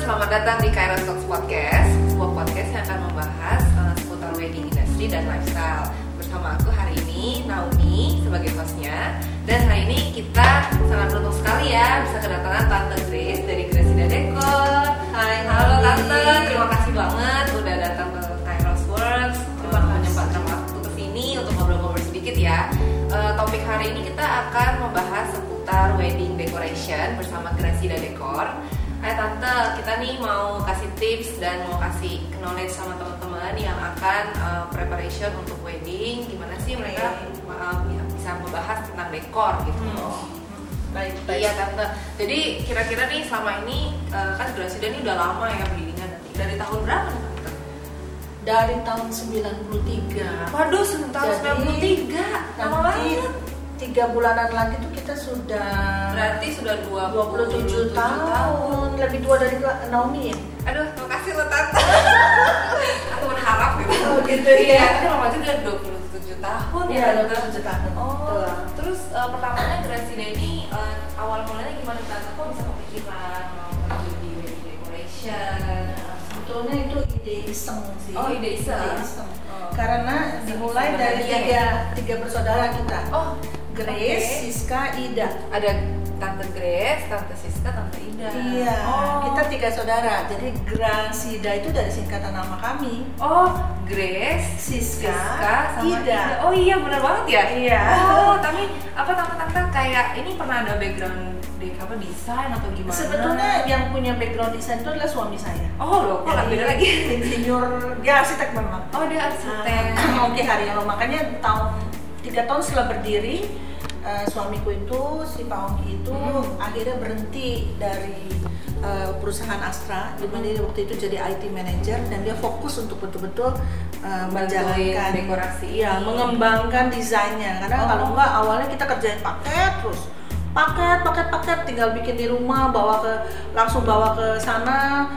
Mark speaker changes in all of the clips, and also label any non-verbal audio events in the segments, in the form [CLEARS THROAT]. Speaker 1: Selamat datang di Kairos Talks Podcast, sebuah podcast yang akan membahas eh, seputar wedding industry dan lifestyle. Bersama aku hari ini Naomi sebagai hostnya dan hari ini kita sangat beruntung sekali ya bisa kedatangan Tante Grace dari Grace Dekor. Hai, halo Tante, terima kasih banget udah datang ke Kairos Works. Terima kasih menyempatkan waktu ke sini untuk ngobrol-ngobrol sedikit ya. Eh, topik hari ini kita akan membahas seputar wedding decoration bersama Gracia Dekor. Hai tante, kita nih mau kasih tips dan mau kasih knowledge sama teman-teman yang akan uh, preparation untuk wedding. Gimana sih mereka uh, bisa membahas tentang dekor gitu?
Speaker 2: Hmm. baik
Speaker 1: Iya tante. Jadi kira-kira nih selama ini uh, kan Grasida nih udah lama ya berdirinya nanti. Dari tahun berapa nih tante?
Speaker 2: dari tahun 93
Speaker 1: Waduh, tahun
Speaker 2: Jadi,
Speaker 1: 93. Lama
Speaker 2: nanti
Speaker 1: banget.
Speaker 2: tiga bulanan lagi tuh kita sudah
Speaker 1: Berarti sudah
Speaker 2: 27 tahun, lebih tua dari Kla- Naomi ya
Speaker 1: Aduh, makasih lo tante. [LAUGHS] Aku berharap gitu.
Speaker 2: Oh, gitu,
Speaker 1: iya.
Speaker 2: iya.
Speaker 1: Tapi lama aja udah 27 tahun ya, tante.
Speaker 2: 27 tahun
Speaker 1: Oh,
Speaker 2: Betul.
Speaker 1: terus eh, pertamanya Gracina ini eh, awal mulanya gimana tante? Kok bisa kepikiran mau kerja di wedding decoration?
Speaker 2: sebetulnya itu ide iseng sih
Speaker 1: Oh, ide iseng. Oh.
Speaker 2: karena dimulai
Speaker 1: Iseng
Speaker 2: dari
Speaker 1: bahagia
Speaker 2: tiga
Speaker 1: ya?
Speaker 2: tiga bersaudara kita
Speaker 1: Oh,
Speaker 2: Grace,
Speaker 1: oke.
Speaker 2: Siska, Ida
Speaker 1: ada Tante Grace, Tante Siska, Tante Ida.
Speaker 2: Iya,
Speaker 1: Oh,
Speaker 2: kita tiga saudara. Jadi Grasida itu dari singkatan nama kami.
Speaker 1: Oh, Grace,
Speaker 2: Siska,
Speaker 1: Siska, sama Ida.
Speaker 2: Ida.
Speaker 1: Oh iya, benar banget ya.
Speaker 2: Iya.
Speaker 1: Oh, tapi apa tante-tante kayak ini pernah ada background di apa desain atau gimana?
Speaker 2: Sebetulnya yang punya background desain itu adalah suami saya.
Speaker 1: Oh, loh, kok nggak
Speaker 2: Iya.
Speaker 1: beda lagi?
Speaker 2: Insinyur, dia arsitek memang.
Speaker 1: Oh, dia arsitek.
Speaker 2: Ah, Oke Haryono, makanya tahun tiga tahun setelah berdiri eh, suamiku itu si Pak Ongki itu
Speaker 1: Hmm.
Speaker 2: akhirnya berhenti dari eh, perusahaan Astra di
Speaker 1: Hmm.
Speaker 2: mana dia waktu itu jadi IT manager dan dia fokus untuk betul-betul eh, menjalankan
Speaker 1: dekorasi
Speaker 2: Iya,
Speaker 1: ini.
Speaker 2: mengembangkan desainnya karena
Speaker 1: Oh.
Speaker 2: kalau enggak awalnya kita kerjain paket terus paket paket paket tinggal bikin di rumah bawa ke langsung bawa ke sana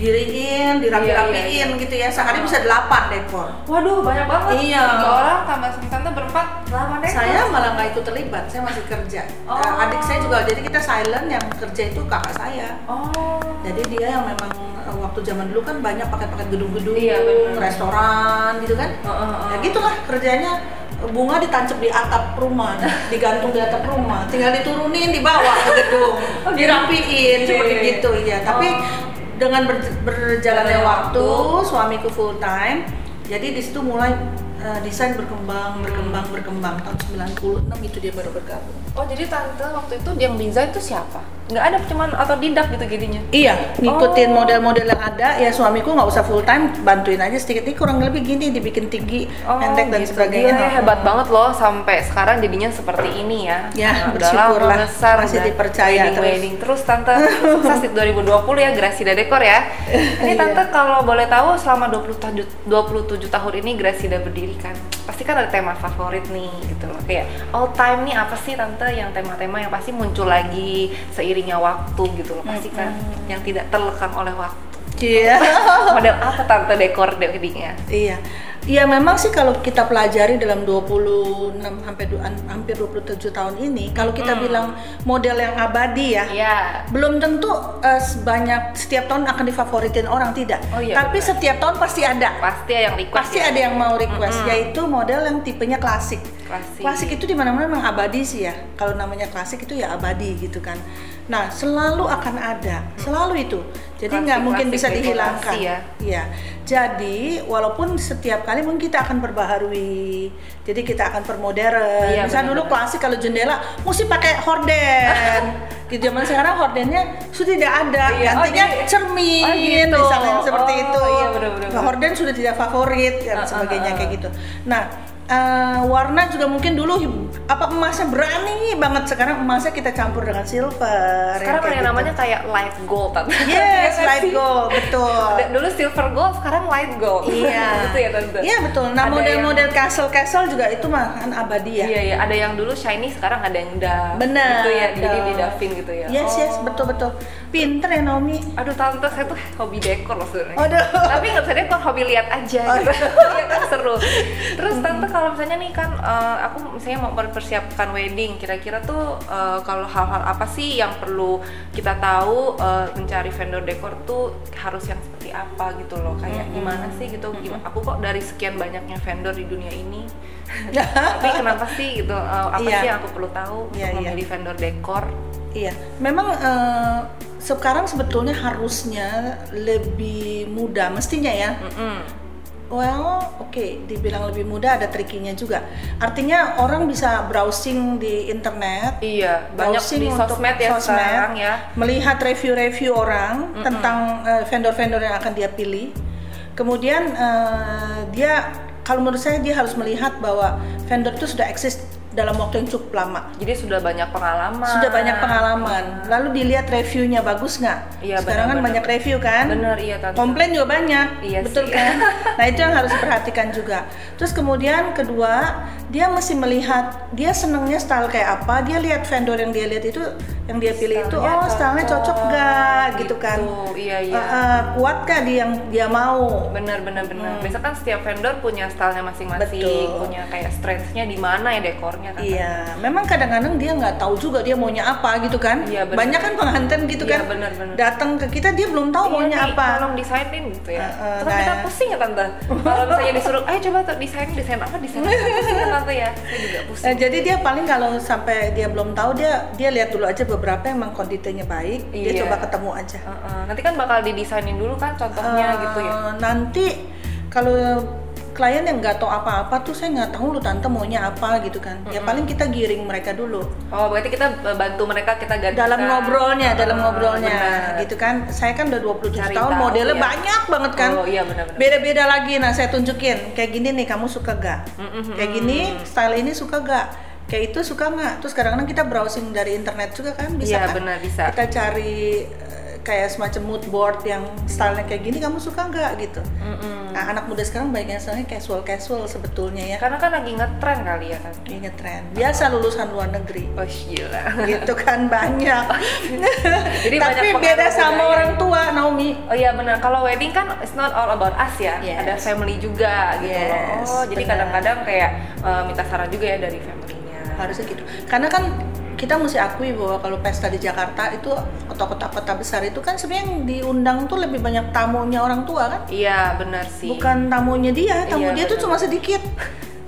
Speaker 2: didiriin dirapi-rapiin
Speaker 1: Iya, iya, iya.
Speaker 2: gitu ya sehari bisa 8 dekor
Speaker 1: Waduh, banyak banget.
Speaker 2: Iya.
Speaker 1: Tiga orang tambah suami tante berempat, delapan ekor.
Speaker 2: saya malah nggak ikut terlibat saya masih kerja
Speaker 1: Oh.
Speaker 2: Eh, adik saya juga jadi kita silent yang kerja itu kakak saya
Speaker 1: Oh.
Speaker 2: jadi dia yang memang eh, waktu zaman dulu kan banyak paket-paket gedung-gedung
Speaker 1: Iya, benar.
Speaker 2: restoran gitu kan
Speaker 1: Heeh, heeh.
Speaker 2: Ya gitulah kerjanya bunga ditancap di atap rumah, digantung di atap rumah, tinggal diturunin dibawa ke [LAUGHS] gedung,
Speaker 1: Oh, gitu.
Speaker 2: dirapiin
Speaker 1: Iya,
Speaker 2: seperti
Speaker 1: iya, iya.
Speaker 2: gitu ya. Tapi
Speaker 1: Oh.
Speaker 2: dengan ber- berjalannya
Speaker 1: Jalannya
Speaker 2: waktu,
Speaker 1: waktu.
Speaker 2: suamiku full time, jadi di situ mulai eh, desain berkembang, berkembang, berkembang. Tahun 96 itu dia baru bergabung.
Speaker 1: Oh, jadi tante waktu itu yang desain tuh siapa? Nggak ada cuman otodidak gitu jadinya.
Speaker 2: Iya, ngikutin model-model yang ada. Ya suamiku nggak usah full time, bantuin aja sedikit. Ini kurang lebih gini, dibikin tinggi, pendek dan
Speaker 1: gitu.
Speaker 2: sebagainya.
Speaker 1: Gila ya, hebat banget loh sampai sekarang jadinya seperti ini ya.
Speaker 2: Ya,
Speaker 1: Nah, udah
Speaker 2: bersyukurlah.
Speaker 1: lama besar,
Speaker 2: Masih
Speaker 1: udah
Speaker 2: dipercaya
Speaker 1: wedding,
Speaker 2: terus.
Speaker 1: wedding. terus. tante sukses di 2020 ya Grasida Dekor ya.
Speaker 2: [LAUGHS]
Speaker 1: Ini
Speaker 2: Iya.
Speaker 1: tante kalau boleh tahu selama 20 tahun 27 tahun ini Grasida berdiri kan. Pasti kan ada tema favorit nih gitu loh. Kayak all time nih apa sih tante yang tema-tema yang pasti muncul lagi seiringnya waktu gitu loh. Pasti kan yang tidak terlekang oleh waktu.
Speaker 2: [LAUGHS] Iya.
Speaker 1: Model apa tante dekor weddingnya?
Speaker 2: Iya. Iya memang sih kalau kita pelajari dalam 26 sampai du- an- hampir 27 tahun ini kalau kita bilang model yang abadi ya
Speaker 1: Hmm. Iya.
Speaker 2: belum tentu eh, sebanyak setiap tahun akan difavoritin orang tidak.
Speaker 1: Oh iya,
Speaker 2: Tapi setiap tahun pasti ada.
Speaker 1: Pasti ada yang request.
Speaker 2: Pasti
Speaker 1: ya.
Speaker 2: ada yang mau request yaitu model yang tipenya klasik.
Speaker 1: Klasik.
Speaker 2: Klasik itu di mana-mana memang abadi sih ya. Kalau namanya klasik itu ya abadi gitu kan. Nah, selalu akan ada, selalu itu. Jadi nggak mungkin bisa
Speaker 1: Klasik-klasik
Speaker 2: dihilangkan.
Speaker 1: dekorasi ya.
Speaker 2: Iya. Jadi walaupun setiap kali mungkin kita akan perbaharui. Jadi kita akan permodern.
Speaker 1: Iya,
Speaker 2: Misal dulu
Speaker 1: benar-benar.
Speaker 2: klasik kalau jendela mesti pakai
Speaker 1: [LAUGHS]
Speaker 2: horden. Di zaman sekarang hordennya sudah tidak ada.
Speaker 1: Iya, oh,
Speaker 2: Gantinya
Speaker 1: jadi-
Speaker 2: cermin
Speaker 1: oh, gitu.
Speaker 2: misalnya seperti
Speaker 1: Oh,
Speaker 2: itu.
Speaker 1: iya, benar-benar.
Speaker 2: Nah, horden sudah tidak favorit dan
Speaker 1: Ah, ah,
Speaker 2: sebagainya
Speaker 1: ah.
Speaker 2: kayak gitu. Nah, eh, warna juga mungkin dulu hib- apa emasnya berani banget sekarang emasnya kita campur dengan silver.
Speaker 1: Sekarang ada
Speaker 2: kayak
Speaker 1: yang
Speaker 2: gitu.
Speaker 1: namanya kayak light gold tante. [LAUGHS]
Speaker 2: Yes,
Speaker 1: Iya kan
Speaker 2: light
Speaker 1: sih?
Speaker 2: gold, betul.
Speaker 1: Da- Dulu silver gold, sekarang light gold.
Speaker 2: [LAUGHS] Iya.
Speaker 1: [LAUGHS] gitu ya tante.
Speaker 2: Iya, betul. Nah,
Speaker 1: Ada
Speaker 2: model-model castle-castle juga itu makan abadi ya.
Speaker 1: Iya iya, ada yang dulu shiny, sekarang ada yang dark.
Speaker 2: Benar.
Speaker 1: Gitu ya, jadi
Speaker 2: betul.
Speaker 1: di dafin gitu ya.
Speaker 2: Yes, yes,
Speaker 1: Oh.
Speaker 2: betul betul. Pinter ya Naomi.
Speaker 1: Aduh tante, saya tuh hobi
Speaker 2: Oh,
Speaker 1: dekor loh sebenarnya.
Speaker 2: Aduh. [LAUGHS]
Speaker 1: [LAUGHS] Tapi nggak bisa dekor, hobi lihat aja.
Speaker 2: Oh, Hmm.
Speaker 1: gitu. Iya kan seru. Terus tante kalau misalnya nih kan eh, aku misalnya mau mempersiapkan wedding, kira-kira tuh eh, kalau hal-hal apa sih yang perlu kita tahu eh, mencari vendor dekor tuh harus yang seperti apa gitu loh. Kayak
Speaker 2: Mhm.
Speaker 1: gimana sih gitu.
Speaker 2: Mhm.
Speaker 1: gimana- Aku kok dari sekian banyaknya vendor di dunia ini tapi kenapa sih gitu eh, apa
Speaker 2: Ah, Iya.
Speaker 1: sih yang aku perlu tahu
Speaker 2: Iya,
Speaker 1: untuk
Speaker 2: iya.
Speaker 1: memilih vendor dekor?
Speaker 2: Iya, memang eh, sekarang sebetulnya harusnya lebih mudah, mestinya ya.
Speaker 1: Mm-mm.
Speaker 2: Well, oke, dibilang lebih mudah ada trikinya juga. Artinya orang bisa browsing di internet,
Speaker 1: Iya, banyak
Speaker 2: browsing
Speaker 1: di
Speaker 2: untuk
Speaker 1: sosmed ya
Speaker 2: sosmed,
Speaker 1: sekarang ya.
Speaker 2: melihat review-review orang
Speaker 1: Mm-mm.
Speaker 2: tentang eh, vendor-vendor yang akan dia pilih. Kemudian eh, dia, kalau menurut saya dia harus melihat bahwa vendor itu sudah eksis dalam waktu yang cukup lama.
Speaker 1: Jadi sudah banyak pengalaman.
Speaker 2: sudah banyak pengalaman lalu dilihat reviewnya bagus nggak
Speaker 1: Iya,
Speaker 2: sekarang kan
Speaker 1: benar-benar.
Speaker 2: banyak review kan
Speaker 1: Bener iya tante.
Speaker 2: komplain juga banyak
Speaker 1: Iya
Speaker 2: betul
Speaker 1: sih.
Speaker 2: kan nah itu yang harus diperhatikan juga terus kemudian kedua dia mesti melihat dia senengnya style kayak apa dia lihat vendor yang dia lihat itu yang dia pilih itu
Speaker 1: Stylenya
Speaker 2: oh stylenya cocok nggak gitu kan
Speaker 1: Iya
Speaker 2: Eh,
Speaker 1: iya.
Speaker 2: eh, kuat nggak di yang dia mau
Speaker 1: bener bener bener. Biasa kan setiap vendor punya stylenya masing-masing,
Speaker 2: Hmm. Betul.
Speaker 1: punya kayak strengthnya di mana ya dekornya kan.
Speaker 2: Iya, memang kadang-kadang dia nggak tahu juga dia maunya apa gitu kan.
Speaker 1: Iya, benar.
Speaker 2: Banyak kan pengantin gitu
Speaker 1: Iya,
Speaker 2: kan.
Speaker 1: benar, benar.
Speaker 2: Datang ke kita dia belum tahu
Speaker 1: Iya,
Speaker 2: Oh, maunya
Speaker 1: Nih,
Speaker 2: apa.
Speaker 1: Tolong desainin gitu ya.
Speaker 2: Eh, eh,
Speaker 1: Terus kita
Speaker 2: nah.
Speaker 1: pusing ya tante. Kalau misalnya disuruh, ayo coba tuh desain desain apa desain apa pusing ya tante ya. Saya juga pusing.
Speaker 2: Eh, jadi dia paling kalau sampai dia belum tahu dia dia lihat dulu aja beberapa yang emang konditenya baik, dia
Speaker 1: Iya.
Speaker 2: coba ketemu aja.
Speaker 1: Eh, eh, nanti kan bakal didesainin dulu kan contohnya
Speaker 2: Eh,
Speaker 1: gitu ya.
Speaker 2: Nanti kalau klien yang nggak tahu apa-apa tuh saya nggak tahu lu tante maunya apa gitu kan. Ya paling kita giring mereka dulu.
Speaker 1: Oh, berarti kita eh, bantu mereka kita ganti
Speaker 2: dalam ngobrolnya, dalam ngobrolnya
Speaker 1: Ah, benar.
Speaker 2: gitu kan. Saya kan udah 27
Speaker 1: Cari
Speaker 2: tahun,
Speaker 1: tahu,
Speaker 2: modelnya
Speaker 1: ya.
Speaker 2: banyak banget kan.
Speaker 1: Oh iya benar-benar.
Speaker 2: Beda-beda lagi. Nah, saya tunjukin kayak gini nih kamu suka gak?
Speaker 1: Mm-mm.
Speaker 2: Kayak gini, style ini suka gak? Kayak itu suka nggak? Terus kadang-kadang kita browsing dari internet juga kan
Speaker 1: Iya,
Speaker 2: bisa kan?
Speaker 1: benar, bisa.
Speaker 2: Kita cari eh, kayak semacam mood board yang stylenya kayak gini kamu suka nggak gitu.
Speaker 1: Mm-mm.
Speaker 2: Nah, anak muda sekarang banyak yang stylenya casual-casual sebetulnya ya.
Speaker 1: Karena kan lagi ngetren kali ya kan.
Speaker 2: Ini tren. Biasa lulusan luar negeri
Speaker 1: [LAUGHS] Oh gila.
Speaker 2: gitu kan banyak.
Speaker 1: Jadi banyak
Speaker 2: Tapi
Speaker 1: pengaruh
Speaker 2: beda sama
Speaker 1: budaya.
Speaker 2: orang tua Naomi.
Speaker 1: Oh iya benar. Kalau wedding kan it's not all about us ya.
Speaker 2: Yes.
Speaker 1: Ada family juga gitu
Speaker 2: Yes,
Speaker 1: loh. Oh, jadi
Speaker 2: benar.
Speaker 1: kadang-kadang kayak eh, minta saran juga ya dari family-nya.
Speaker 2: Harusnya gitu. Karena kan kita mesti akui bahwa kalau pesta di Jakarta itu kota-kota kota besar itu kan sebenarnya yang diundang tuh lebih banyak tamunya orang tua kan.
Speaker 1: Iya, benar sih.
Speaker 2: Bukan tamunya dia,
Speaker 1: Iya,
Speaker 2: tamu dia tuh
Speaker 1: benar.
Speaker 2: cuma sedikit.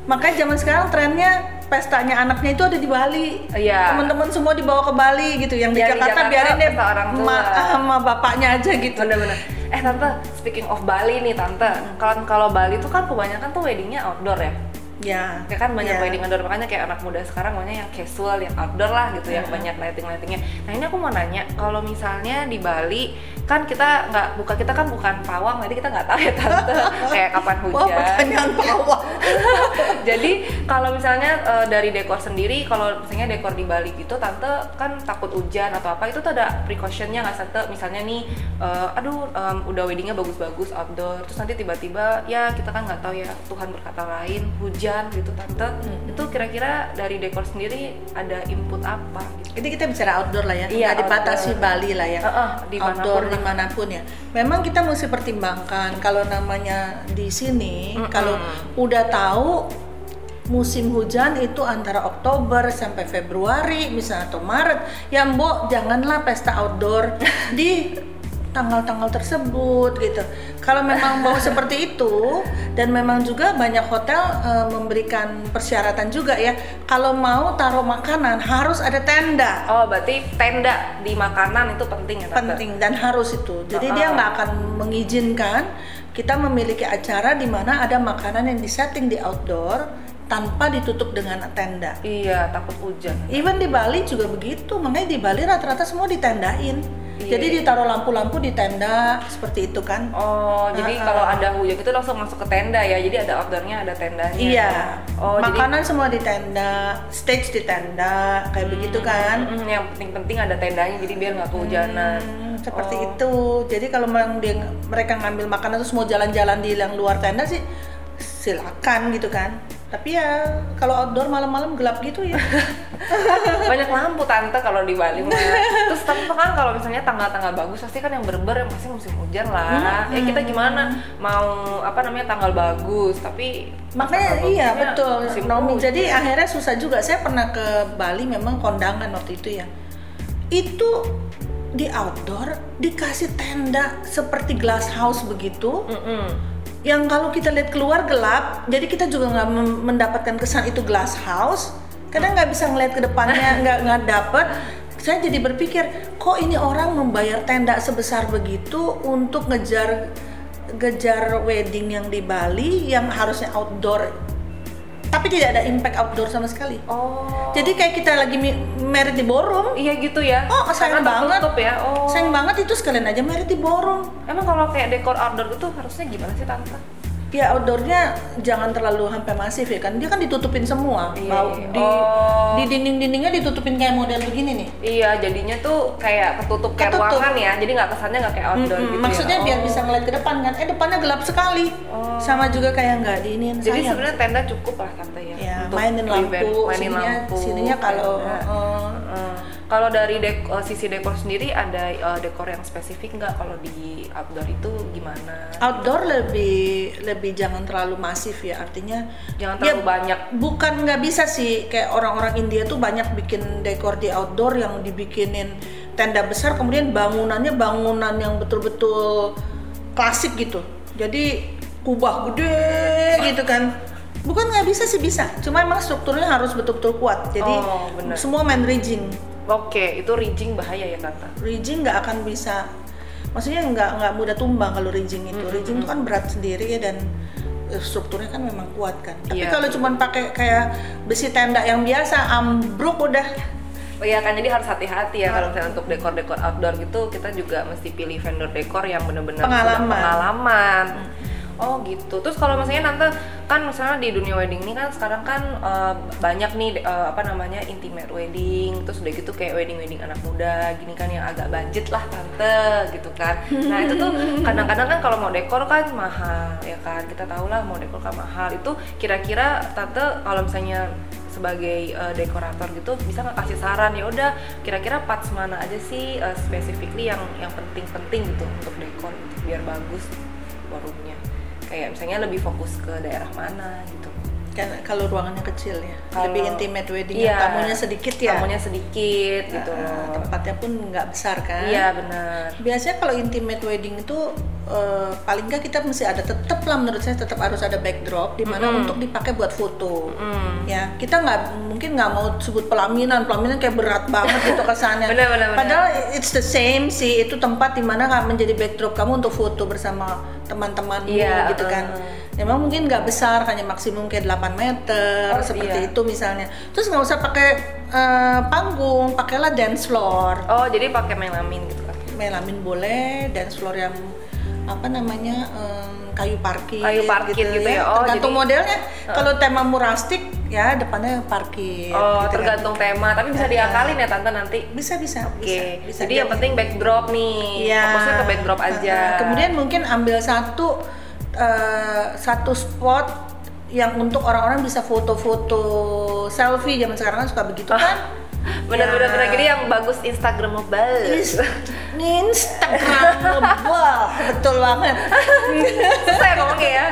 Speaker 2: Makanya zaman sekarang trennya pestanya anaknya itu ada di Bali.
Speaker 1: Iya.
Speaker 2: Teman-teman semua dibawa ke Bali gitu. Yang di
Speaker 1: Yang di
Speaker 2: Jakarta,
Speaker 1: Jakarta
Speaker 2: biarin deh
Speaker 1: pesta orang tua.
Speaker 2: emak [LAUGHS] sama bapaknya aja gitu.
Speaker 1: Bener-bener. Eh tante, speaking of Bali nih tante,
Speaker 2: Hmm.
Speaker 1: kalau kalau Bali tuh kan kebanyakan tuh weddingnya outdoor ya.
Speaker 2: Ya.
Speaker 1: Ya kan banyak
Speaker 2: Ya.
Speaker 1: wedding outdoor makanya kayak anak muda sekarang maunya yang casual, yang outdoor lah gitu, yang
Speaker 2: Mhm.
Speaker 1: banyak lighting-lightingnya. Nah ini aku mau nanya, kalau misalnya di Bali kan kita nggak buka kita kan bukan pawang, jadi kita nggak tahu ya tante kayak kapan
Speaker 2: Wah,
Speaker 1: hujan.
Speaker 2: pertanyaan bawah.
Speaker 1: [LAUGHS] jadi kalau misalnya eh, dari dekor sendiri, kalau misalnya dekor di Bali gitu, tante kan takut hujan atau apa itu tuh ada precautionnya nggak tante? Misalnya nih, eh, aduh em, udah weddingnya bagus-bagus outdoor, terus nanti tiba-tiba ya kita kan nggak tahu ya Tuhan berkata lain hujan gitu tante.
Speaker 2: Hmm.
Speaker 1: Itu kira-kira dari dekor sendiri ada input apa? Gitu?
Speaker 2: Jadi kita bicara outdoor lah ya,
Speaker 1: Iya,
Speaker 2: nggak dibatasi
Speaker 1: outdoor.
Speaker 2: Bali lah ya.
Speaker 1: Heeh, dimanapun
Speaker 2: outdoor
Speaker 1: lah.
Speaker 2: dimanapun ya. Memang kita mesti pertimbangkan kalau namanya di sini,
Speaker 1: Mm-mm.
Speaker 2: kalau Nah. udah tahu musim hujan itu antara Oktober sampai Februari misalnya atau Maret, ya Mbok janganlah pesta outdoor di tanggal-tanggal tersebut gitu. Kalau memang mau seperti itu dan memang juga banyak hotel eh, memberikan persyaratan juga ya. Kalau mau taruh makanan harus ada tenda
Speaker 1: Oh berarti tenda di makanan itu penting ya tante?
Speaker 2: penting dan harus itu. Jadi
Speaker 1: Heeh.
Speaker 2: dia nggak akan mengizinkan kita memiliki acara di mana ada makanan yang disetting di outdoor tanpa ditutup dengan tenda.
Speaker 1: Iya takut hujan.
Speaker 2: Even di Bali juga begitu, makanya di Bali rata-rata semua ditendain.
Speaker 1: Iya.
Speaker 2: Jadi ditaruh lampu-lampu di tenda seperti itu kan.
Speaker 1: Oh, jadi
Speaker 2: Ah, ah.
Speaker 1: kalau ada hujan itu langsung masuk ke tenda ya. Jadi ada outdoornya, ada tendanya.
Speaker 2: Iya.
Speaker 1: Oh,
Speaker 2: makanan semua di tenda, stage di tenda, kayak
Speaker 1: jadi
Speaker 2: begitu kan.
Speaker 1: Mm, mm, yang penting-penting ada tendanya, jadi biar nggak kehujanan.
Speaker 2: Hmm, seperti
Speaker 1: Oh.
Speaker 2: itu. Jadi kalau memang dia, mereka ngambil makanan terus mau jalan-jalan di yang luar tenda sih silakan gitu kan. Tapi ya kalau outdoor malam-malam gelap gitu ya
Speaker 1: [LAUGHS] banyak lampu tante kalau di Bali
Speaker 2: [LAUGHS]
Speaker 1: mah. terus tante kan kalau misalnya tanggal-tanggal bagus pasti kan yang berber yang pasti musim hujan
Speaker 2: Hmm.
Speaker 1: lah ya kita gimana mau apa namanya tanggal bagus tapi
Speaker 2: Makanya
Speaker 1: tanggal
Speaker 2: iya
Speaker 1: bagusnya
Speaker 2: betul
Speaker 1: musim
Speaker 2: Naomi.
Speaker 1: hujan.
Speaker 2: Jadi akhirnya susah juga. Saya pernah ke Bali memang kondangan waktu itu ya. Itu di outdoor dikasih tenda seperti glass house begitu
Speaker 1: Mm-mm.
Speaker 2: yang kalau kita lihat keluar gelap jadi kita juga nggak mem- mendapatkan kesan itu glass house karena nggak bisa ngelihat ke depannya nggak nggak dapet saya jadi berpikir kok ini orang membayar tenda sebesar begitu untuk ngejar ngejar wedding yang di Bali yang harusnya outdoor tapi tidak ada impact outdoor sama sekali
Speaker 1: oh
Speaker 2: jadi kayak kita lagi mi- merit di ballroom
Speaker 1: iya gitu ya
Speaker 2: Oh, sayang
Speaker 1: Karena
Speaker 2: banget.
Speaker 1: tertutup ya oh
Speaker 2: sayang banget itu sekalian aja merit di ballroom
Speaker 1: emang kalau kayak dekor outdoor itu harusnya gimana sih tante
Speaker 2: Ya outdoornya jangan terlalu sampai masif ya kan dia kan ditutupin semua
Speaker 1: Iya,
Speaker 2: mau
Speaker 1: iya.
Speaker 2: di
Speaker 1: Oh.
Speaker 2: di dinding-dindingnya ditutupin kayak model begini nih.
Speaker 1: Iya, jadinya tuh kayak ketutup kayak
Speaker 2: Ketutup.
Speaker 1: ruangan ya, jadi nggak kesannya nggak kayak outdoor
Speaker 2: Mm-mm,
Speaker 1: gitu.
Speaker 2: Maksudnya
Speaker 1: ya.
Speaker 2: biar
Speaker 1: Oh.
Speaker 2: bisa ngeliat ke depan kan. Eh depannya gelap sekali.
Speaker 1: Oh.
Speaker 2: Sama juga kayak nggak diinin
Speaker 1: Jadi
Speaker 2: sayang.
Speaker 1: sebenarnya tenda cukup lah tante ya.
Speaker 2: ya
Speaker 1: untuk
Speaker 2: mainin
Speaker 1: event,
Speaker 2: lampu,
Speaker 1: mainin
Speaker 2: sininya,
Speaker 1: lampu.
Speaker 2: sininya kalau
Speaker 1: tenda.
Speaker 2: eh,
Speaker 1: Heeh. kalau dari dek- eh, sisi dekor sendiri ada eh, dekor yang spesifik nggak kalau di outdoor itu gimana?
Speaker 2: outdoor lebih lebih jangan terlalu masif ya artinya
Speaker 1: Jangan
Speaker 2: ya,
Speaker 1: terlalu banyak.
Speaker 2: bukan nggak bisa sih kayak orang-orang India tuh banyak bikin dekor di outdoor yang dibikinin tenda besar kemudian bangunannya bangunan yang betul-betul klasik gitu jadi kubah gede gitu kan bukan nggak bisa sih bisa cuma emang strukturnya harus betul-betul kuat jadi
Speaker 1: Oh, bener.
Speaker 2: semua main rigging
Speaker 1: Oke, itu rigging bahaya ya tante.
Speaker 2: rigging nggak akan bisa maksudnya nggak nggak mudah tumbang kalau rigging itu rigging itu kan berat sendiri ya dan eh, strukturnya kan memang kuat kan tapi
Speaker 1: Iya.
Speaker 2: kalau cuman pakai kayak besi tenda yang biasa ambruk udah
Speaker 1: Oh iya kan jadi harus hati-hati ya kalau misalnya untuk dekor-dekor outdoor gitu kita juga mesti pilih vendor dekor yang benar-benar sudah
Speaker 2: Pengalaman.
Speaker 1: pengalaman. Oh gitu. Terus kalau misalnya nanti kan misalnya di dunia wedding ini kan sekarang kan eh, banyak nih eh, apa namanya intimate wedding, terus udah gitu kayak wedding-wedding anak muda gini kan yang agak budget lah tante gitu kan. Nah, itu tuh kadang-kadang kan kalau mau dekor kan mahal ya kan. Kita tahu lah mau dekor kan mahal. Itu kira-kira tante kalau misalnya sebagai eh, dekorator gitu bisa nggak kasih saran ya udah kira-kira parts mana aja sih eh, specifically yang yang penting-penting gitu untuk dekor gitu, biar bagus warungnya kayak misalnya lebih fokus ke daerah mana gitu
Speaker 2: kan kalau ruangannya kecil ya
Speaker 1: Kalau-
Speaker 2: lebih intimate wedding
Speaker 1: Iya.
Speaker 2: tamunya sedikit ya
Speaker 1: tamunya sedikit gitu
Speaker 2: Ah,
Speaker 1: loh.
Speaker 2: tempatnya pun nggak besar kan
Speaker 1: iya benar
Speaker 2: biasanya kalau intimate wedding itu eh, paling nggak kita mesti ada tetap lah menurut saya tetap harus ada backdrop di mana
Speaker 1: Mm-mm.
Speaker 2: untuk dipakai buat foto
Speaker 1: Mm.
Speaker 2: ya kita nggak mungkin nggak mau sebut pelaminan pelaminan kayak berat banget gitu kesannya
Speaker 1: [LAUGHS] Benar, benar, benar.
Speaker 2: padahal it's the same sih itu tempat dimana nggak menjadi backdrop kamu untuk foto bersama teman-temanmu
Speaker 1: Iya,
Speaker 2: gitu kan
Speaker 1: uh-uh.
Speaker 2: memang mungkin nggak besar hanya maksimum kayak 8 meter
Speaker 1: Oh,
Speaker 2: seperti
Speaker 1: iya.
Speaker 2: itu misalnya terus nggak usah pakai eh, panggung pakailah dance floor
Speaker 1: oh jadi pakai melamin gitu kan
Speaker 2: melamin boleh dance floor yang apa namanya em, kayu parkir
Speaker 1: Kayu parkir gitu ya, oh,
Speaker 2: tergantung
Speaker 1: jadi-
Speaker 2: modelnya kalau tema murastik ya depannya parkir
Speaker 1: oh
Speaker 2: gitu kan.
Speaker 1: tergantung tema tapi bisa diakalin ya tante nanti
Speaker 2: bisa bisa
Speaker 1: oke
Speaker 2: bisa, bisa
Speaker 1: jadi yang
Speaker 2: jadi.
Speaker 1: penting backdrop nih
Speaker 2: Iya.
Speaker 1: fokusnya ke backdrop aja
Speaker 2: Uh-uh. kemudian mungkin ambil satu eh, satu spot yang untuk orang-orang bisa foto-foto selfie zaman sekarang kan suka begitu
Speaker 1: Ah.
Speaker 2: kan
Speaker 1: bener-bener
Speaker 2: Ya.
Speaker 1: bener gini yang bagus instagramable
Speaker 2: Is- [LAUGHS] Instagramable betul banget
Speaker 1: [LAUGHS] susah ya ngomongnya ya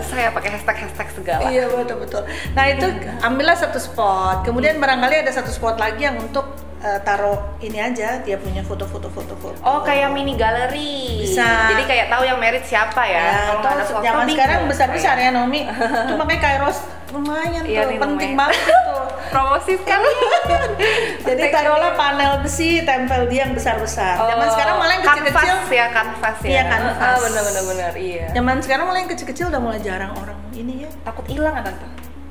Speaker 1: susah ya pakai hashtag hashtag segala
Speaker 2: Iya betul betul. Nah itu
Speaker 1: Iya kan?
Speaker 2: ambillah satu spot. Kemudian barangkali ada satu spot lagi yang untuk eh, taruh ini aja dia punya foto-foto foto-foto.
Speaker 1: oh kayak mini galeri
Speaker 2: Bisa.
Speaker 1: jadi kayak tahu yang merit siapa ya
Speaker 2: Ya,
Speaker 1: kalau nggak ada
Speaker 2: tuh
Speaker 1: foto
Speaker 2: zaman
Speaker 1: bingung
Speaker 2: sekarang besar-besar
Speaker 1: saya.
Speaker 2: ya
Speaker 1: [LAUGHS]
Speaker 2: Nomi. Itu makanya Kairos lumayan
Speaker 1: Iya,
Speaker 2: tuh
Speaker 1: nih,
Speaker 2: penting
Speaker 1: lumayan.
Speaker 2: banget
Speaker 1: [LAUGHS]
Speaker 2: tuh.
Speaker 1: promosi kan
Speaker 2: Jadi taruhlah panel besi tempel dia yang besar-besar.
Speaker 1: Oh,
Speaker 2: Zaman sekarang malah yang kecil-kecil.
Speaker 1: kanvas ya kanvas ya
Speaker 2: Iya, kanvas.
Speaker 1: Ah, bener bener bener iya
Speaker 2: Zaman sekarang malah yang kecil-kecil udah mulai jarang orang ini ya.
Speaker 1: takut hilang kan tante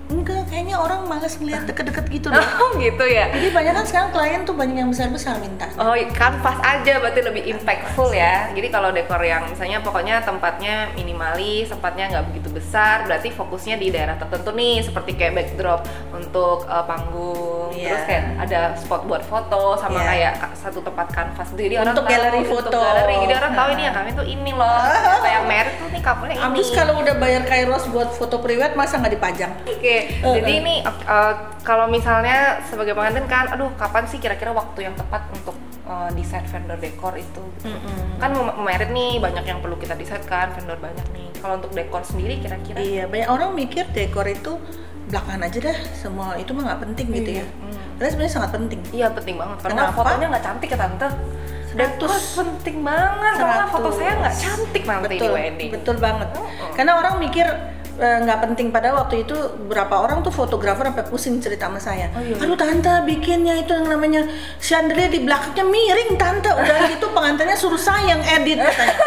Speaker 2: Enggak, kayaknya orang malas ngeliat deket-deket gitu deh.
Speaker 1: [LAUGHS] oh gitu ya
Speaker 2: Jadi banyak kan sekarang klien tuh banyak yang besar-besar minta.
Speaker 1: Oh, kanvas aja berarti lebih impactful ya. Jadi kalau dekor yang misalnya pokoknya tempatnya minimalis, tempatnya nggak begitu besar, berarti fokusnya di daerah tertentu nih, seperti kayak backdrop untuk eh, panggung,
Speaker 2: Iya.
Speaker 1: terus kayak ada spot buat foto sama
Speaker 2: Iya.
Speaker 1: kayak ka- satu tempat kanvas. Jadi tahu,
Speaker 2: Untuk galeri
Speaker 1: untuk
Speaker 2: foto.
Speaker 1: galeri. Jadi orang tahu
Speaker 2: Nah. [LAUGHS]
Speaker 1: ini yang kami tuh ini loh. Ternyata yang merek tuh nih couple ini.
Speaker 2: Abis kalau udah bayar kairos buat foto priwet masa nggak dipajang?
Speaker 1: Oke,
Speaker 2: Uh-uh.
Speaker 1: jadi ini uh, kalau misalnya sebagai pengantin kan, aduh kapan sih kira-kira waktu yang tepat untuk uh, desain vendor dekor itu? gitu.
Speaker 2: Mm-mm.
Speaker 1: Kan mau mau married nih banyak yang perlu kita desain kan, vendor banyak nih. Kalau untuk dekor sendiri kira-kira?
Speaker 2: Iya, banyak orang mikir dekor itu belakangan aja dah, semua itu mah nggak penting gitu ya.
Speaker 1: Mm.
Speaker 2: Padahal sebenarnya sangat penting.
Speaker 1: Iya penting banget. Karena
Speaker 2: Kenapa?
Speaker 1: fotonya nggak cantik ya tante. Dekor
Speaker 2: Seratus.
Speaker 1: penting banget. Karena foto
Speaker 2: 100.
Speaker 1: saya nggak cantik nanti
Speaker 2: betul,
Speaker 1: di wedding.
Speaker 2: betul banget.
Speaker 1: Mm-mm.
Speaker 2: Karena orang mikir eh, nggak penting pada waktu itu berapa orang tuh fotografer sampai pusing cerita sama saya.
Speaker 1: Oh, iya.
Speaker 2: Aduh tante bikinnya itu yang namanya chandelier di belakangnya miring tante. Udah gitu pengantinnya suruh saya yang edit. [LAUGHS] katanya.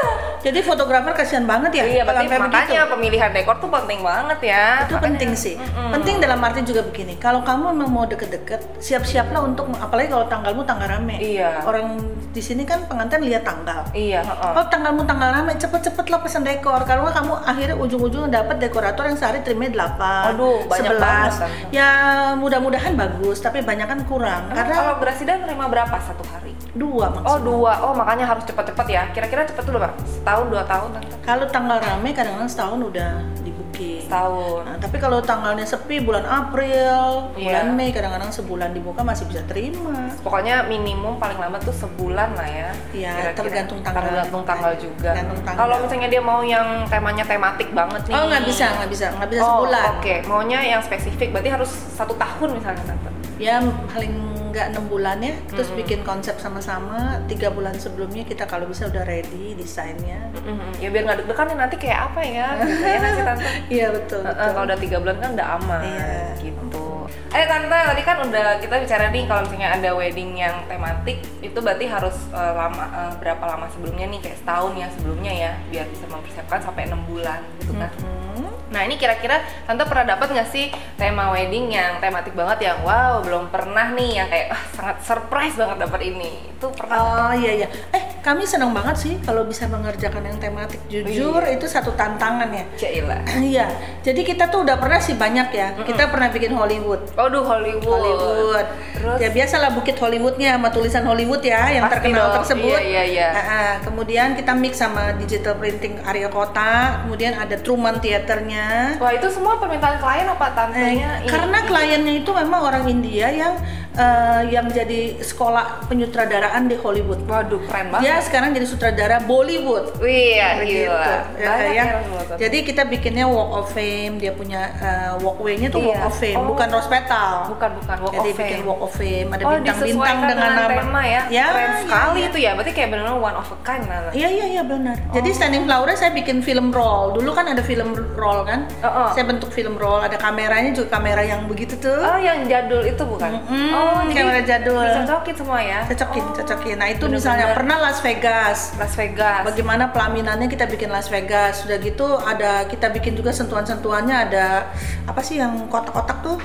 Speaker 2: Jadi fotografer kasihan banget
Speaker 1: Iya,
Speaker 2: ya. kalau
Speaker 1: berarti
Speaker 2: sampai begitu.
Speaker 1: makanya pemilihan dekor tuh penting banget ya.
Speaker 2: itu
Speaker 1: Makanya-
Speaker 2: penting sih
Speaker 1: Mm-mm.
Speaker 2: penting dalam arti juga begini kalau kamu memang mau deket-deket siap-siaplah untuk apalagi kalau tanggalmu tanggal rame
Speaker 1: Iya.
Speaker 2: orang di sini kan pengantin lihat tanggal
Speaker 1: Iya. heeh.
Speaker 2: kalau tanggalmu tanggal rame cepet-cepetlah pesan dekor kalau nggak kamu akhirnya ujung-ujungnya dapat dekorator yang sehari terima 8
Speaker 1: Aduh, banyak
Speaker 2: 11
Speaker 1: banget, kan.
Speaker 2: ya mudah-mudahan bagus tapi banyak kan kurang
Speaker 1: Emang
Speaker 2: karena
Speaker 1: kalau berasidan terima berapa satu hari?
Speaker 2: dua
Speaker 1: Oh
Speaker 2: maksudnya
Speaker 1: dua, oh makanya harus cepat-cepat ya. Kira-kira cepat dulu bang, setahun dua tahun tante.
Speaker 2: kalau tanggal rame kadang-kadang setahun udah di booking
Speaker 1: Setahun.
Speaker 2: Nah, tapi kalau tanggalnya sepi bulan April, bulan
Speaker 1: Iya.
Speaker 2: Mei kadang-kadang sebulan dibuka masih bisa terima.
Speaker 1: Pokoknya minimum paling lama tuh sebulan lah ya.
Speaker 2: Iya,
Speaker 1: Kira-kira.
Speaker 2: tergantung tanggal.
Speaker 1: Tergantung tanggal juga.
Speaker 2: Tergantung tanggal.
Speaker 1: Kalau misalnya dia mau yang temanya tematik banget nih.
Speaker 2: Oh nggak bisa, nggak bisa, nggak bisa
Speaker 1: Oh,
Speaker 2: sebulan.
Speaker 1: Oke, maunya yang spesifik berarti harus satu tahun misalnya tante.
Speaker 2: Ya paling nggak enam bulan ya. Terus bikin konsep sama-sama. Tiga bulan sebelumnya kita kalau bisa udah ready desainnya.
Speaker 1: Mm-mm. Ya biar nggak deg-degan nih, nanti kayak apa ya? Gitu ya nggak sih, tante.
Speaker 2: Iya betul.
Speaker 1: Heeh,
Speaker 2: betul.
Speaker 1: kalau udah tiga bulan kan udah aman
Speaker 2: Iya.
Speaker 1: gitu. Eh tante tadi kan udah kita bicara nih kalau misalnya ada wedding yang tematik itu berarti harus eh, lama eh, berapa lama sebelumnya nih kayak setahun ya sebelumnya ya biar bisa mempersiapkan sampai enam bulan gitu kan.
Speaker 2: Hmm.
Speaker 1: Nah ini kira-kira tante pernah dapat nggak sih tema wedding yang tematik banget yang wow belum pernah nih yang kayak "Ah, sangat surprise banget dapat ini itu pernah.
Speaker 2: Oh iya iya. Eh kami senang banget sih kalau bisa mengerjakan yang tematik. Jujur
Speaker 1: Iya.
Speaker 2: itu satu tantangan ya. [CLEARS THROAT]
Speaker 1: Cailah.
Speaker 2: Iya. Jadi kita tuh udah pernah sih banyak ya. Kita pernah bikin Hollywood.
Speaker 1: Waduh Hollywood.
Speaker 2: Hollywood.
Speaker 1: Terus?
Speaker 2: Ya biasalah bukit Hollywoodnya sama tulisan Hollywood ya yang
Speaker 1: Pasti
Speaker 2: terkenal
Speaker 1: dong.
Speaker 2: tersebut.
Speaker 1: Iya, iya, iya.
Speaker 2: Ah, ah. kemudian kita mix sama digital printing Arya Kota, kemudian ada Truman Theaternya.
Speaker 1: Wah itu semua permintaan klien apa tantenya?
Speaker 2: Eh,
Speaker 1: ini?
Speaker 2: karena kliennya itu memang orang India yang eh, yang jadi sekolah penyutradaraan di Hollywood.
Speaker 1: Waduh keren banget.
Speaker 2: Dia sekarang jadi sutradara Bollywood.
Speaker 1: Wih, ya,
Speaker 2: Begitu.
Speaker 1: gila.
Speaker 2: Ya,
Speaker 1: Banyak
Speaker 2: ya.
Speaker 1: ya, Rosemary.
Speaker 2: Jadi kita bikinnya walk of fame, dia punya eh, walkway-nya tuh walk
Speaker 1: Iya.
Speaker 2: of fame,
Speaker 1: Oh.
Speaker 2: bukan rose petal.
Speaker 1: bukan bukan walk
Speaker 2: Jadi
Speaker 1: of
Speaker 2: bikin
Speaker 1: fame.
Speaker 2: walk of fame, ada
Speaker 1: oh,
Speaker 2: bintang-bintang
Speaker 1: disesuaikan
Speaker 2: dengan, nama.
Speaker 1: tema ya.
Speaker 2: ya
Speaker 1: keren
Speaker 2: ya,
Speaker 1: sekali
Speaker 2: ya.
Speaker 1: itu ya. Berarti kayak benar-benar one of a kind lah.
Speaker 2: Iya iya iya benar. Jadi standing flower saya bikin film roll. Dulu kan ada film roll kan.
Speaker 1: Oh, oh.
Speaker 2: Saya bentuk film roll, ada kameranya juga kamera yang begitu tuh.
Speaker 1: Oh, yang jadul itu bukan?
Speaker 2: Mm-mm,
Speaker 1: oh, jadi
Speaker 2: kamera jadul.
Speaker 1: Dicocokin semua ya.
Speaker 2: Cocokin,
Speaker 1: Oh,
Speaker 2: cocokin. Nah, itu
Speaker 1: bener-bener.
Speaker 2: misalnya pernah Las Vegas.
Speaker 1: Las Vegas.
Speaker 2: Bagaimana pelaminannya kita bikin Las Vegas. Sudah gitu ada kita bikin juga sentuhan-sentuhannya ada apa sih yang kotak-kotak tuh?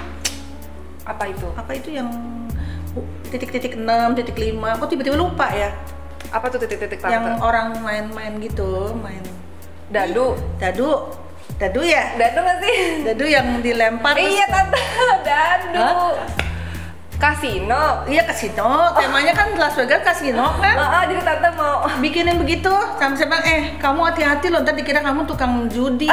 Speaker 1: Apa itu?
Speaker 2: Apa itu yang bu- titik-titik 6, titik 5. Aku tiba-tiba lupa ya.
Speaker 1: Apa tuh titik-titik
Speaker 2: yang
Speaker 1: tante?
Speaker 2: orang main-main gitu main
Speaker 1: Dadu.
Speaker 2: dadu dadu ya
Speaker 1: Dadu nggak sih?
Speaker 2: dadu yang dilempar terus-
Speaker 1: Iya tante, [LAUGHS] dadu.
Speaker 2: Hah?
Speaker 1: Kasino.
Speaker 2: iya kasino temanya kan Las Vegas kasino kan
Speaker 1: Oh, oh, jadi tante mau
Speaker 2: bikinin begitu sampai saya bilang eh kamu hati-hati loh ntar dikira kamu tukang judi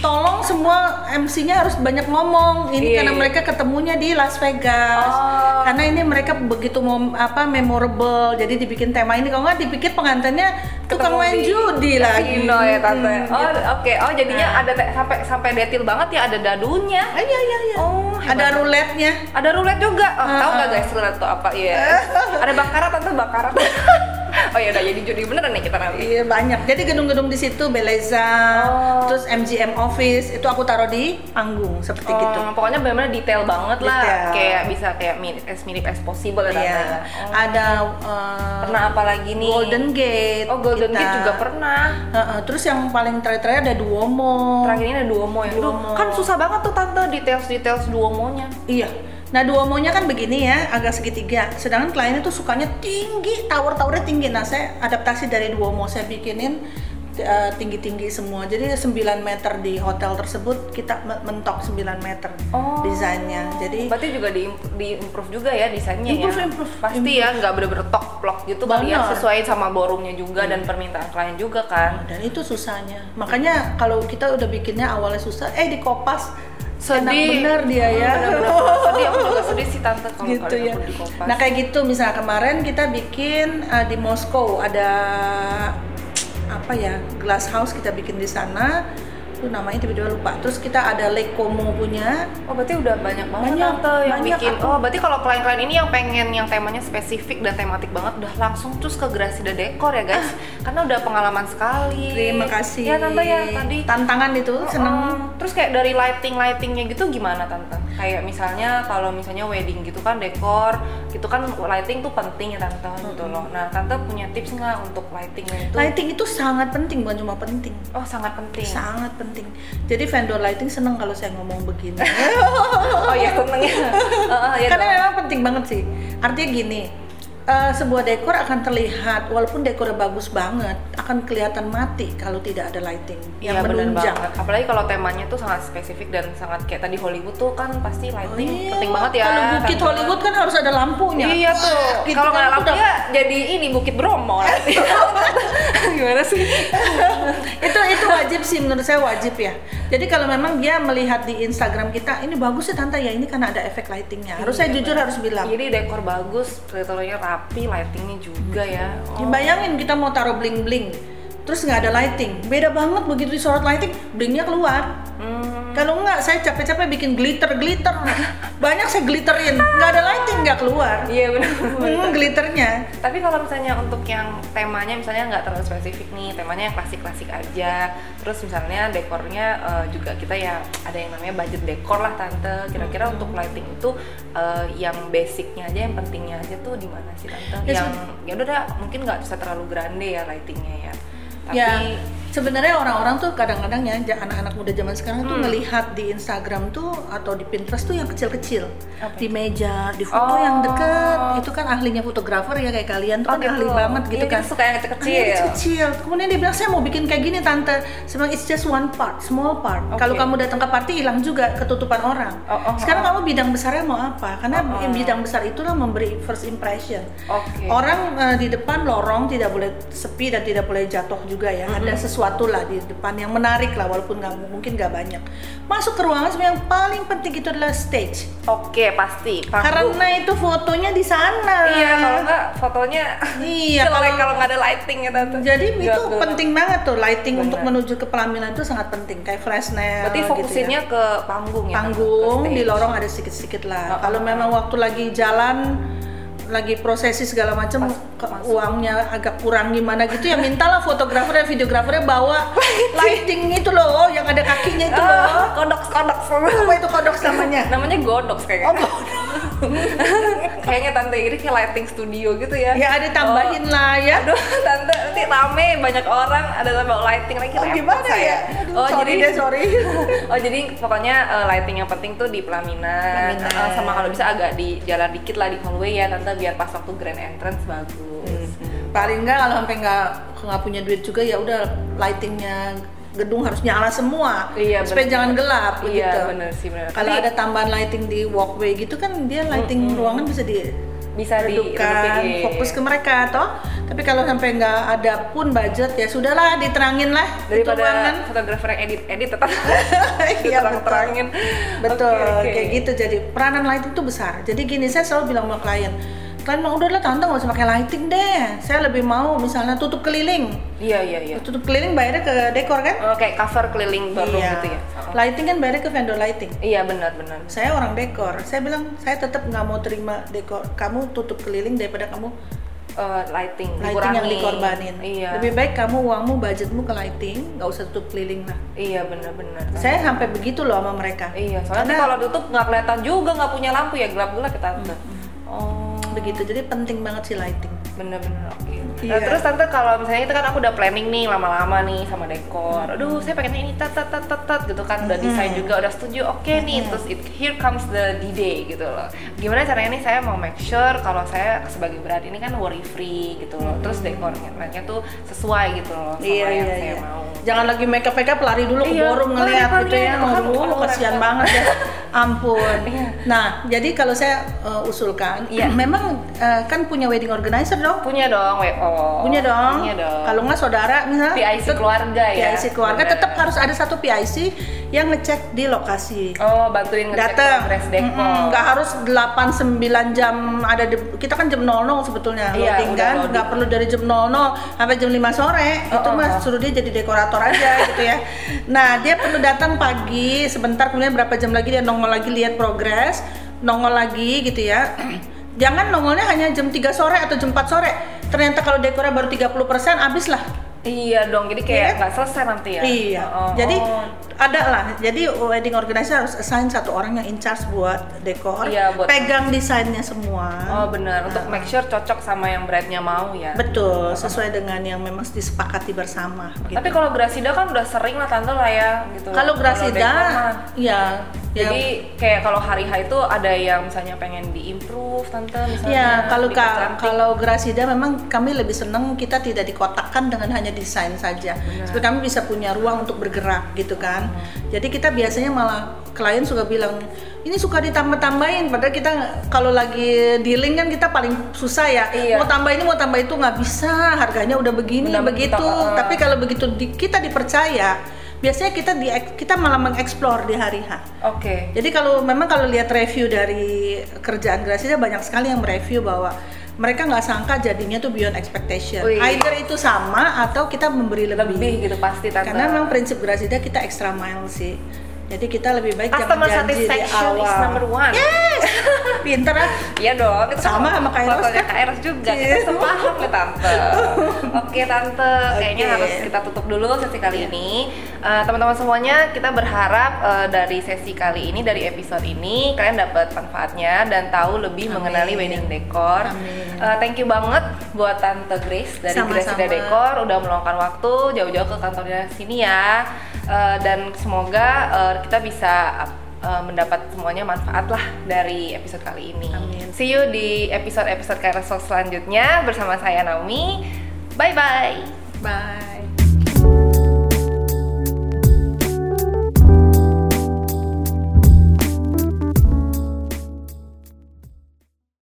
Speaker 2: tolong semua MC-nya harus banyak ngomong ini
Speaker 1: Iya,
Speaker 2: karena
Speaker 1: iya.
Speaker 2: mereka ketemunya di Las Vegas
Speaker 1: Oh.
Speaker 2: karena ini mereka begitu mem- apa memorable jadi dibikin tema ini kalau nggak dipikir pengantinnya tukang
Speaker 1: Ketemu
Speaker 2: main
Speaker 1: di
Speaker 2: judi lagi
Speaker 1: Kasino ya tante.
Speaker 2: Hmm,
Speaker 1: Oh,
Speaker 2: gitu.
Speaker 1: oke. Oh, jadinya ada te- sampai sampai detail banget ya ada dadunya.
Speaker 2: Ah, iya iya iya
Speaker 1: Oh,
Speaker 2: ada
Speaker 1: hebat.
Speaker 2: roulette-nya
Speaker 1: Ada roulette juga. Oh,
Speaker 2: Ah,
Speaker 1: tahu nggak guys roulette tuh apa?
Speaker 2: [LAUGHS]
Speaker 1: Iya. ada bakara tante bakara. [LAUGHS] oh ya udah jadi judi beneran nih kita nanti.
Speaker 2: Iya banyak. Jadi gedung-gedung di situ Beleza,
Speaker 1: Oh.
Speaker 2: terus MGM Office itu aku taruh di panggung seperti
Speaker 1: Oh,
Speaker 2: gitu.
Speaker 1: pokoknya benar-benar detail banget lah.
Speaker 2: Detail.
Speaker 1: Kayak bisa kayak mirip as mirip as possible ya tante.
Speaker 2: Iya.
Speaker 1: ya. Oh.
Speaker 2: Ada eh,
Speaker 1: Pernah apa lagi nih?
Speaker 2: Golden Gate.
Speaker 1: Oh, Golden
Speaker 2: kita.
Speaker 1: Gate juga pernah.
Speaker 2: Heeh, terus yang paling terakhir ada Duomo.
Speaker 1: Terakhir ini ada Duomo ya. Duh,
Speaker 2: Duomo.
Speaker 1: kan susah banget tuh tante details-details Duomonya.
Speaker 2: Iya. Nah Duomonya kan begini ya, agak segitiga. Sedangkan kliennya tuh sukanya tinggi, tower-towernya tinggi. Nah saya adaptasi dari Duomo, saya bikinin eh, tinggi-tinggi semua. Jadi 9 meter di hotel tersebut kita me- mentok 9 meter
Speaker 1: Oh.
Speaker 2: desainnya. Jadi
Speaker 1: Berarti juga di, diimprove juga ya desainnya
Speaker 2: Improve,
Speaker 1: ya.
Speaker 2: improve.
Speaker 1: Pasti ya nggak bener-bener tok plok gitu kali ya
Speaker 2: Benar.
Speaker 1: sesuai sama borumnya juga dan
Speaker 2: Iya.
Speaker 1: permintaan klien juga kan.
Speaker 2: dan itu susahnya. Makanya kalau kita udah bikinnya awalnya susah, eh dikopas
Speaker 1: Sedih.
Speaker 2: enak
Speaker 1: Oh,
Speaker 2: bener dia ya.
Speaker 1: Bener-bener sedih aku juga sedih sih tante kalau
Speaker 2: gitu
Speaker 1: kali
Speaker 2: ya.
Speaker 1: aku di kopas.
Speaker 2: Nah kayak gitu misalnya kemarin kita bikin uh, di Moskow ada apa ya glass house kita bikin di sana. Itu namanya tiba-tiba lupa. Terus kita ada Lake Como punya.
Speaker 1: Oh berarti udah banyak banget
Speaker 2: Banyak,
Speaker 1: tante yang
Speaker 2: banyak
Speaker 1: bikin.
Speaker 2: aku.
Speaker 1: Oh berarti kalau klien-klien ini yang pengen yang temanya spesifik dan tematik banget udah langsung terus ke Grasida Dekor ya guys. Karena udah pengalaman sekali.
Speaker 2: Ah. Terima kasih.
Speaker 1: Ya tante ya tadi.
Speaker 2: tantangan itu
Speaker 1: Oh,
Speaker 2: seneng.
Speaker 1: oh. Terus kayak dari lighting lightingnya gitu gimana tante? Kayak misalnya kalau misalnya wedding gitu kan dekor gitu kan lighting tuh penting ya tante gitu loh. Nah tante punya tips nggak untuk lightingnya itu?
Speaker 2: Lighting itu sangat penting bukan cuma penting.
Speaker 1: Oh sangat penting.
Speaker 2: Sangat penting. Jadi vendor lighting seneng kalau saya ngomong begini.
Speaker 1: Oh
Speaker 2: [LAUGHS]
Speaker 1: ya seneng ya. Heeh, ya,
Speaker 2: Karena
Speaker 1: dong.
Speaker 2: memang penting banget sih. Artinya gini, eh, sebuah dekor akan terlihat walaupun dekornya bagus banget, akan kelihatan mati kalau tidak ada lighting yang
Speaker 1: Iya bener
Speaker 2: menunjang.
Speaker 1: banget. Apalagi kalau temanya tuh sangat spesifik dan sangat kayak tadi Hollywood tuh kan pasti
Speaker 2: Oh,
Speaker 1: lighting
Speaker 2: iya.
Speaker 1: penting banget ya.
Speaker 2: Kalau bukit
Speaker 1: Tante.
Speaker 2: Hollywood kan harus ada lampunya.
Speaker 1: Iya tuh.
Speaker 2: Gitu
Speaker 1: kalau
Speaker 2: kan,
Speaker 1: nggak
Speaker 2: aku
Speaker 1: lampunya jadi ini Bukit Bromo. nanti. Gimana sih?
Speaker 2: [LAUGHS] itu itu wajib sih menurut saya wajib ya jadi kalau memang dia melihat di Instagram kita ini bagus sih tante ya ini karena ada efek lightingnya harus
Speaker 1: Iya,
Speaker 2: saya jujur harus bilang
Speaker 1: Jadi dekor bagus, nya rapi, lightingnya juga ya.
Speaker 2: Ya, bayangin kita mau taruh bling bling terus nggak ada lighting beda banget begitu disorot lighting blingnya keluar
Speaker 1: Hmm,
Speaker 2: kalau nggak saya capek-capek bikin glitter glitter banyak saya glitterin nggak ada lighting nggak keluar
Speaker 1: Iya benar. [LAUGHS]
Speaker 2: hmm, glitternya
Speaker 1: Tapi kalau misalnya untuk yang temanya misalnya nggak terlalu spesifik nih, temanya yang klasik-klasik aja. Terus misalnya dekornya eh, juga kita ya ada yang namanya budget dekor lah tante. Kira-kira
Speaker 2: Hmm.
Speaker 1: untuk lighting itu eh, yang basicnya aja, yang pentingnya aja tuh di mana sih tante?
Speaker 2: Ya,
Speaker 1: yang ya udah dah, mungkin nggak bisa terlalu grande ya lightingnya ya. Tapi
Speaker 2: ya sebenarnya orang-orang tuh kadang-kadang ya ja- anak-anak muda zaman sekarang
Speaker 1: Hmm.
Speaker 2: tuh melihat di Instagram tuh atau di Pinterest tuh yang kecil-kecil
Speaker 1: Apa
Speaker 2: di meja di
Speaker 1: Oh.
Speaker 2: foto yang dekat itu kan ahlinya fotografer ya kayak kalian tuh
Speaker 1: Oh,
Speaker 2: kan
Speaker 1: gitu.
Speaker 2: ahli banget gitu
Speaker 1: Iya,
Speaker 2: kan
Speaker 1: kita suka yang kecil-kecil.
Speaker 2: [LAUGHS] Ahlinya kecil kemudian dia bilang saya mau bikin kayak gini tante sebenarnya it's just one part small part
Speaker 1: Oke.
Speaker 2: kalau kamu datang ke party hilang juga ketutupan orang
Speaker 1: Oh, oh,
Speaker 2: sekarang
Speaker 1: oh.
Speaker 2: kamu bidang besarnya mau apa karena
Speaker 1: Oh, oh.
Speaker 2: bidang besar itulah memberi first impression
Speaker 1: Oke.
Speaker 2: Orang eh, di depan lorong tidak boleh sepi dan tidak boleh jatuh juga ya.
Speaker 1: Mm-hmm.
Speaker 2: Ada sesuatu lah di depan yang menarik lah walaupun nggak mungkin nggak banyak. Masuk ke ruangan sebenarnya yang paling penting itu adalah stage.
Speaker 1: Oke pasti. Panggung.
Speaker 2: Karena itu fotonya di sana.
Speaker 1: iya kalau nggak fotonya
Speaker 2: Iya,
Speaker 1: jelek
Speaker 2: kalau-
Speaker 1: kalau nggak ada lighting ya tante.
Speaker 2: Jadi
Speaker 1: Nggak
Speaker 2: itu
Speaker 1: gelap.
Speaker 2: penting banget tuh lighting
Speaker 1: Benar.
Speaker 2: untuk menuju ke pelaminan itu sangat penting kayak freshness
Speaker 1: Berarti fokusinnya ke panggung ya?
Speaker 2: Gitu ya. panggung
Speaker 1: Tante? Ke
Speaker 2: di
Speaker 1: stage.
Speaker 2: lorong ada sedikit-sedikit
Speaker 1: Oh,
Speaker 2: lah.
Speaker 1: oh.
Speaker 2: Kalau memang waktu lagi jalan, lagi prosesi segala macam,
Speaker 1: Pas-
Speaker 2: ke-
Speaker 1: masuk.
Speaker 2: uangnya agak kurang gimana gitu ya mintalah fotografer dan
Speaker 1: [LAUGHS]
Speaker 2: videografernya bawa lighting itu loh yang ada kakinya itu
Speaker 1: Ah,
Speaker 2: loh.
Speaker 1: kodok kodok
Speaker 2: Apa itu kodok namanya?
Speaker 1: [LAUGHS] namanya godok kayaknya
Speaker 2: Oh, kodok.
Speaker 1: [LAUGHS] kayaknya tante ini kayak lighting studio gitu ya
Speaker 2: ya ada tambahin lah ya.
Speaker 1: Oh, aduh tante nanti rame banyak orang ada tambah lighting lagi
Speaker 2: Oh,
Speaker 1: repot
Speaker 2: gimana
Speaker 1: saya.
Speaker 2: ya? Aduh, sorry deh, sorry.
Speaker 1: [LAUGHS] oh jadi pokoknya eh, lighting yang penting tuh di pelaminan,
Speaker 2: Pelaminan.
Speaker 1: Eh, sama kalau bisa agak di jalan dikit lah di hallway ya tante biar pas waktu grand entrance bagus
Speaker 2: Paling enggak kalau sampai nggak nggak punya duit juga ya udah lightingnya gedung harus nyala semua
Speaker 1: Iya,
Speaker 2: supaya
Speaker 1: bener.
Speaker 2: jangan gelap
Speaker 1: Iya,
Speaker 2: gitu.
Speaker 1: bener sih, bener.
Speaker 2: Kalau
Speaker 1: Tapi-
Speaker 2: ada tambahan lighting di walkway gitu kan dia lighting ruangan bisa di
Speaker 1: bisa iya.
Speaker 2: redupkan
Speaker 1: diredupin.
Speaker 2: fokus ke mereka toh tapi kalau sampai nggak ada pun budget ya sudahlah diterangin lah itu ruangan.
Speaker 1: daripada fotografer yang edit edit
Speaker 2: [LAUGHS]
Speaker 1: tetap
Speaker 2: Iya,
Speaker 1: terang-terangin
Speaker 2: betul
Speaker 1: Oke, oke.
Speaker 2: kayak gitu jadi peranan lighting tuh besar jadi gini saya selalu bilang sama klien klien mau udahlah tante nggak usah pakai lighting deh saya lebih mau misalnya tutup keliling
Speaker 1: iya iya iya
Speaker 2: tutup keliling bayarnya ke dekor kan
Speaker 1: Oh, kayak cover
Speaker 2: Iya.
Speaker 1: keliling baru gitu ya Oh.
Speaker 2: lighting kan bayarnya ke vendor lighting
Speaker 1: iya benar benar
Speaker 2: saya orang dekor saya bilang saya tetap nggak mau terima dekor kamu tutup keliling daripada kamu
Speaker 1: Eh, lighting
Speaker 2: lighting yang
Speaker 1: dikurangi.
Speaker 2: dikorbanin.
Speaker 1: iya
Speaker 2: Lebih baik kamu uangmu, budgetmu ke lighting, nggak usah tutup keliling lah.
Speaker 1: iya benar benar
Speaker 2: Saya sampai begitu loh sama mereka.
Speaker 1: iya soalnya
Speaker 2: Karena- Hmm.
Speaker 1: kalau tutup nggak kelihatan juga nggak punya lampu ya gelap gelap kita tante oh
Speaker 2: Begitu, jadi penting banget sih lighting.
Speaker 1: benar benar oke oke
Speaker 2: Iya.
Speaker 1: Nah, terus tante kalau misalnya itu kan aku udah planning nih lama-lama nih sama dekor.
Speaker 2: Hmm.
Speaker 1: Aduh, saya pengennya ini tat tat tat tat, tat gitu kan udah desain juga udah setuju. Oke nih,
Speaker 2: Hmm.
Speaker 1: terus it, here comes the D-day gitu loh. Gimana caranya nih saya mau make sure kalau saya sebagai brand ini kan worry free gitu loh. Terus dekornya tuh sesuai gitu loh sama
Speaker 2: Hmm. Iya,
Speaker 1: yang
Speaker 2: iya,
Speaker 1: saya
Speaker 2: iya.
Speaker 1: mau.
Speaker 2: Jangan lagi makeup makeup lari dulu ke
Speaker 1: Iya,
Speaker 2: ballroom
Speaker 1: lari,
Speaker 2: ngelihat
Speaker 1: lari,
Speaker 2: gitu ya.
Speaker 1: lari, lari,
Speaker 2: Aduh,
Speaker 1: lari, [LAUGHS]
Speaker 2: kasihan
Speaker 1: lari.
Speaker 2: banget ya. Ampun. Nah, jadi kalau saya uh, usulkan,
Speaker 1: Iya.
Speaker 2: memang uh, kan punya wedding organizer dong.
Speaker 1: Punya dong WO.
Speaker 2: Punya
Speaker 1: Oh,
Speaker 2: dong.
Speaker 1: Punya dong.
Speaker 2: Kalau nggak saudara misalnya
Speaker 1: PIC
Speaker 2: ikut
Speaker 1: keluarga ya.
Speaker 2: PIC keluarga
Speaker 1: Bener.
Speaker 2: tetap harus ada satu PIC yang ngecek di lokasi.
Speaker 1: Oh, bantuin ngecek
Speaker 2: datang
Speaker 1: progress dekor.
Speaker 2: Mm-mm, nggak harus 8 9 jam ada di- kita kan jam 00 sebetulnya
Speaker 1: Iya,
Speaker 2: loading
Speaker 1: udah
Speaker 2: kan
Speaker 1: loading.
Speaker 2: nggak perlu dari jam 00 sampai jam 5 sore
Speaker 1: Oh,
Speaker 2: itu
Speaker 1: oh,
Speaker 2: mas
Speaker 1: oh.
Speaker 2: suruh dia jadi dekorator
Speaker 1: [LAUGHS]
Speaker 2: aja gitu ya nah dia perlu datang pagi sebentar kemudian berapa jam lagi dia nongol lagi lihat progres nongol lagi gitu ya [CLEARS THROAT] jangan nongolnya hanya jam 3 sore atau jam 4 sore ternyata kalau dekornya baru 30% habis lah
Speaker 1: Iya dong, jadi kayak
Speaker 2: Iya kan?
Speaker 1: nggak selesai nanti ya.
Speaker 2: Iya.
Speaker 1: Oh,
Speaker 2: jadi
Speaker 1: oh.
Speaker 2: ada lah. Jadi wedding organizer harus assign satu orang yang in charge buat dekor,
Speaker 1: Iya, buat-
Speaker 2: pegang desainnya semua.
Speaker 1: Oh benar, untuk make sure cocok sama yang brandnya mau ya.
Speaker 2: Betul, sesuai dengan yang memang disepakati bersama. gitu.
Speaker 1: Tapi kalau Grasida kan udah sering lah tante lah ya gitu.
Speaker 2: kalau Grasida,
Speaker 1: dekor mah.
Speaker 2: ya, ya-
Speaker 1: Jadi kayak kalau hari H itu ada yang misalnya pengen diimprove tante misalnya.
Speaker 2: Ya, kalau ka-
Speaker 1: dipercantik.
Speaker 2: kalau Grasida memang kami lebih senang kita tidak dikotakkan dengan hanya desain saja. Seperti kami bisa punya ruang untuk bergerak gitu kan.
Speaker 1: Oh.
Speaker 2: Jadi kita biasanya malah klien suka bilang ini suka ditambah-tambahin padahal kita kalau lagi dealing kan kita paling susah ya.
Speaker 1: Iya.
Speaker 2: Mau tambah ini mau tambah itu nggak bisa, harganya udah begini
Speaker 1: Udah
Speaker 2: begitu.
Speaker 1: begitu, uh-uh.
Speaker 2: Tapi kalau begitu di- kita dipercaya, biasanya kita di kita malah mengeksplor di hari H.
Speaker 1: Oke.
Speaker 2: Jadi kalau memang kalau lihat review dari kerjaan Gracia banyak sekali yang mereview bahwa mereka nggak sangka jadinya tuh beyond expectation.
Speaker 1: Wih.
Speaker 2: Either itu sama atau kita memberi lebih.
Speaker 1: Lebih gitu pasti tante.
Speaker 2: Karena memang prinsip Gracia kita extra mile sih. Jadi kita lebih baik jangan
Speaker 1: customer
Speaker 2: janji di
Speaker 1: satisfaction is number
Speaker 2: awal. Ya,
Speaker 1: one.
Speaker 2: [LAUGHS] Pinter ah.
Speaker 1: Iya dong, itu
Speaker 2: Sama sama Kairos
Speaker 1: fotonya
Speaker 2: kan?
Speaker 1: Kairos juga,
Speaker 2: Iya.
Speaker 1: kita sepaham nih Tante Oke Tante, kayaknya
Speaker 2: Oke.
Speaker 1: harus kita tutup dulu sesi kali ini Eh, Teman-teman semuanya, kita berharap eh, dari sesi kali ini, dari episode ini Kalian dapat manfaatnya dan tahu lebih mengenali wedding decor
Speaker 2: Amin.
Speaker 1: Eh, Thank you banget buat Tante Grace dari
Speaker 2: Sama-sama.
Speaker 1: Grace Ida Dekor Udah meluangkan waktu jauh-jauh ke kantornya sini ya Eh, Dan semoga eh, kita bisa eh, mendapat semuanya manfaat lah dari episode kali ini
Speaker 2: Amin.
Speaker 1: See you di episode-episode Kairos Talk selanjutnya bersama saya Naomi. Bye bye.
Speaker 2: Bye.